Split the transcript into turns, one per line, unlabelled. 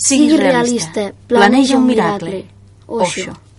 Sigui realista, planeja un miracle. Osho.